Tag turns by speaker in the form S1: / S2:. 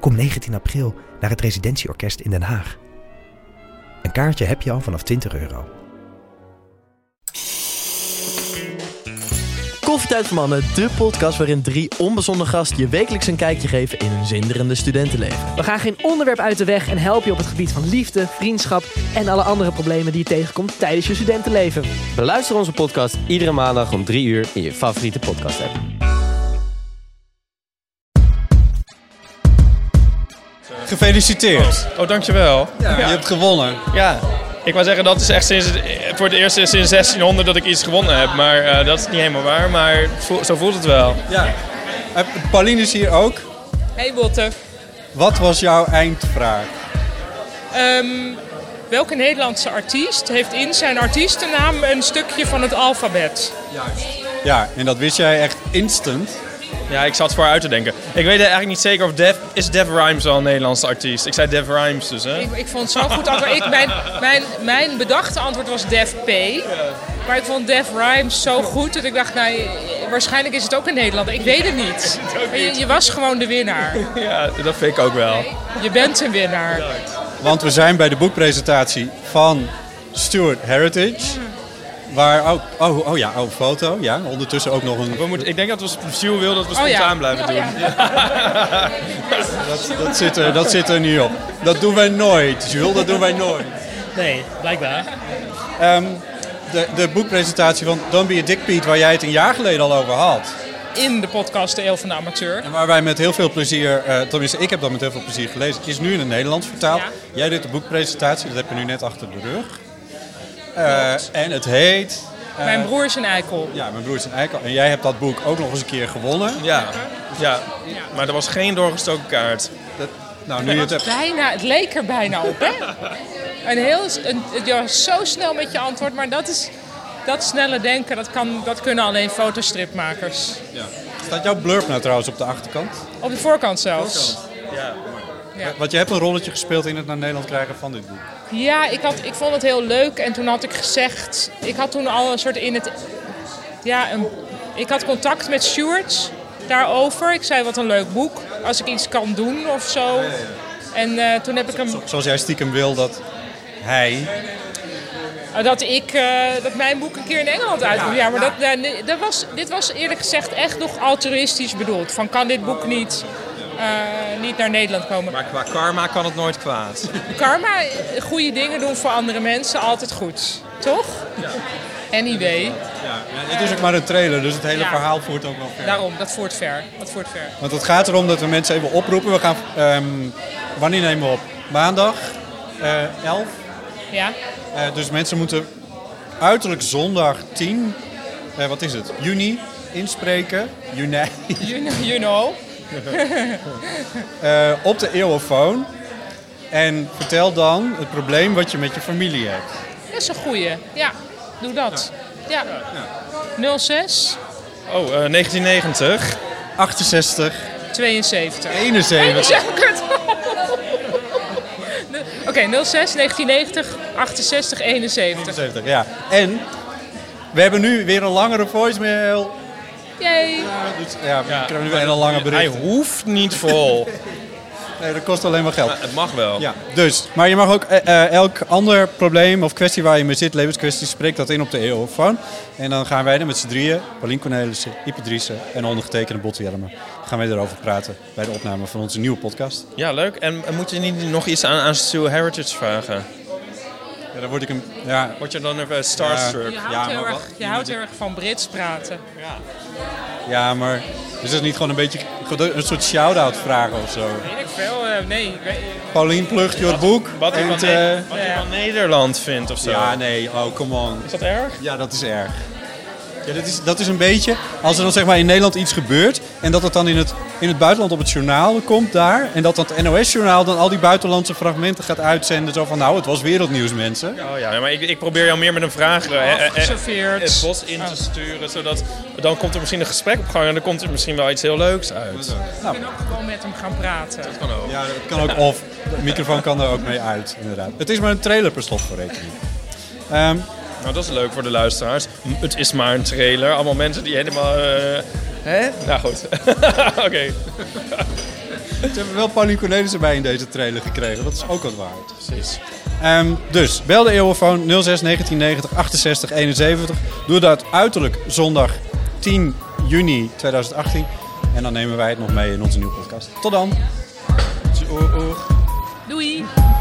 S1: Kom 19 april naar het Residentieorkest in Den Haag. Een kaartje heb je al vanaf 20 euro.
S2: Koffietijd voor Mannen, de podcast waarin drie onbezonnen gasten je wekelijks een kijkje geven in hun zinderende studentenleven.
S3: We gaan geen onderwerp uit de weg en helpen je op het gebied van liefde, vriendschap en alle andere problemen die je tegenkomt tijdens je studentenleven.
S4: Beluister onze podcast iedere maandag om 3 uur in je favoriete podcast app.
S5: Gefeliciteerd.
S6: Oh, dankjewel.
S5: Je hebt gewonnen.
S6: Ja. Ik wou zeggen, dat is echt sinds, het- voor het eerst sinds 1600 dat ik iets gewonnen heb. Maar eh, dat is niet helemaal waar, maar vo- zo voelt het wel.
S5: Ja. Eh, Pauline is hier ook.
S7: Hey Botte,
S5: Wat was jouw eindvraag?
S7: Ehm, welke Nederlandse artiest heeft in zijn artiestennaam een stukje van het alfabet?
S5: Ja, en dat wist jij echt instant.
S6: Ja, ik zat voor uit te denken. Ik weet eigenlijk niet zeker of Def... Is Def Rhymes al een Nederlandse artiest? Ik zei Def Rhymes dus, hè?
S7: Ik, ik vond het zo'n goed antwoord. Ik, mijn, mijn, mijn bedachte antwoord was Def P. Maar ik vond Def Rhymes zo goed dat ik dacht, nou, waarschijnlijk is het ook een Nederlander. Ik weet het niet. Maar je, je was gewoon de winnaar.
S6: Ja, dat vind ik ook wel.
S7: Je bent een winnaar.
S5: Want we zijn bij de boekpresentatie van Stuart Heritage. Waar ook... Oh, oh ja, oh, foto. Ja, ondertussen ook nog
S6: We
S5: een...
S6: moeten, ik denk dat we Jules wil dat we
S7: Oh
S6: spontaan
S7: ja.
S6: blijven doen.
S7: Oh ja.
S5: Dat, dat, zit er, dat zit er niet op. Dat doen wij nooit, Jules. Dat doen wij nooit.
S8: Nee, blijkbaar.
S5: Ehm, de, de boekpresentatie van Don't Be a Dick Piet, waar jij het een jaar geleden al over had.
S7: In de podcast De Eeuw van de Amateur.
S5: En waar wij met heel veel plezier, eh tenminste ik heb dat met heel veel plezier gelezen, is nu in het Nederlands vertaald.
S7: Ja.
S5: Jij doet de boekpresentatie, dat heb je nu net achter de rug. Eh, en het heet... eh,
S7: Mijn broer is een eikel.
S5: Ja, mijn broer is een eikel. En jij hebt dat boek ook nog eens een keer gewonnen.
S6: Ja. ja, maar er was geen doorgestoken kaart.
S5: Dat, nou, nu je het hebt...
S7: Bijna, het leek er bijna op, hè? Een heel, een, je was zo snel met je antwoord, maar dat is... Dat snelle denken, dat, kan, dat kunnen alleen fotostripmakers.
S5: Ja. Staat jouw blurb nou trouwens op de achterkant? Eh,
S7: Op de voorkant zelfs.
S5: Want je hebt een rolletje gespeeld in het naar Nederland krijgen van dit boek.
S7: Ja, ik, had, ik vond het heel leuk en toen had ik gezegd... Ik had toen al een soort in het... Ja, een, ik had contact met Stuart daarover. Ik zei, wat een leuk boek. Als ik iets kan doen of zo. En eh, toen heb ik hem...
S5: Zoals jij stiekem wil dat hij...
S7: Uh, Dat, ik, eh, dat mijn boek een keer in Engeland uitkomt. Ja, maar dat, eh, nee, dat was, dit was eerlijk gezegd echt nog altruïstisch bedoeld. Van kan dit boek niet, eh, niet naar Nederland komen?
S6: Maar qua karma kan het nooit kwaad.
S7: Karma, eh, goede dingen doen voor andere mensen, altijd goed. Toch? Anyway,
S5: Ja, het is ook maar een trailer, dus het hele
S7: Ja.
S5: verhaal voert ook wel verder.
S7: daarom, dat voert ver. Dat voert ver.
S5: Want het gaat erom dat we mensen even oproepen. We gaan, ehm, wanneer nemen we op? Maandag eh 11.
S7: Ja?
S5: Eh, dus mensen moeten uiterlijk zondag 10, eh, wat is het? Juni inspreken. Juni.
S7: You know. You know.
S5: Eh, op de eeuwofoon. En vertel dan het probleem wat je met je familie hebt.
S7: Dat is een goeie. Ja, doe dat. Ja. 06
S6: Oh, eh, 1990.
S5: 68,
S7: 72.
S5: 71.
S7: Ja, kut. Oké, 06, 1990, 68, 71.
S5: 71, ja. En we hebben nu weer een langere voicemail.
S7: Yay.
S5: Ja, dus, ja, we krijgen nu weer een lange bericht.
S6: Hij hoeft niet vol.
S5: Nee, dat kost alleen maar geld.
S6: het mag wel.
S5: Ja, dus. Maar je mag ook eh, eh, elk ander probleem of kwestie waar je mee zit, levenskwestie, spreek dat in op de eeuwofoon. En dan gaan wij er met z'n drieën, Paulien Cornelissen, Ipe Driessen en ondergetekende Botte Jellema, gaan wij erover praten bij de opname van onze nieuwe podcast.
S6: Ja, leuk. En, en moet je niet nog iets aan, aan Stu Heritage vragen?
S5: Ja, dan word ik een... Ja,
S6: Word je dan even starstruck?
S7: Je houdt,
S5: Ja, maar
S7: heel,
S5: wat-
S7: erg, je houdt heel erg van Brits praten.
S5: ja maar... Is dat niet gewoon een beetje een soort shout-out vragen of zo?
S7: Weet ik veel. eh, nee, ik weet-
S5: Paulien, plucht je boek.
S6: Wat ik
S5: en,
S6: van,
S5: eh,
S6: Ne- wat je van Nederland vindt of zo.
S5: Ja, nee, oh, come on.
S6: Is dat erg?
S5: Ja, dat is erg. Ja, dat, is, dat is een beetje als er dan zeg maar in Nederland iets gebeurt en dat het dan in het, in het buitenland op het journaal komt daar. En dat dat NOS-journaal dan al die buitenlandse fragmenten gaat uitzenden. Zo van nou, het was wereldnieuws mensen.
S6: Oh ja, maar ik, ik probeer jou meer met een vraag eh, eh, eh,
S7: Afgeserveerd.
S6: het bos in te sturen. Zodat dan komt er misschien een gesprek op gang en dan komt er misschien wel iets heel leuks uit.
S5: Nou,
S7: Ik ben ook gewoon met hem gaan praten.
S5: ja, dat kan ook of. De microfoon kan er ook mee uit, inderdaad. Het is maar een trailer per slot voor rekening. Ehm,
S6: Nou, dat is leuk voor de luisteraars. M- Het is maar een trailer. Allemaal mensen die helemaal... eh, hè? Nou goed. Oké.
S5: ze hebben wel Pauline Cornelissen bij in deze trailer gekregen. Dat is ook wat waard. Ehm, dus, bel de eeuwenfoon 06 1990 68 71. Doe dat uiterlijk zondag 10 juni 2018. En dan nemen wij het nog mee in onze nieuwe podcast. Tot dan. Oeh, oeh.
S7: Doei!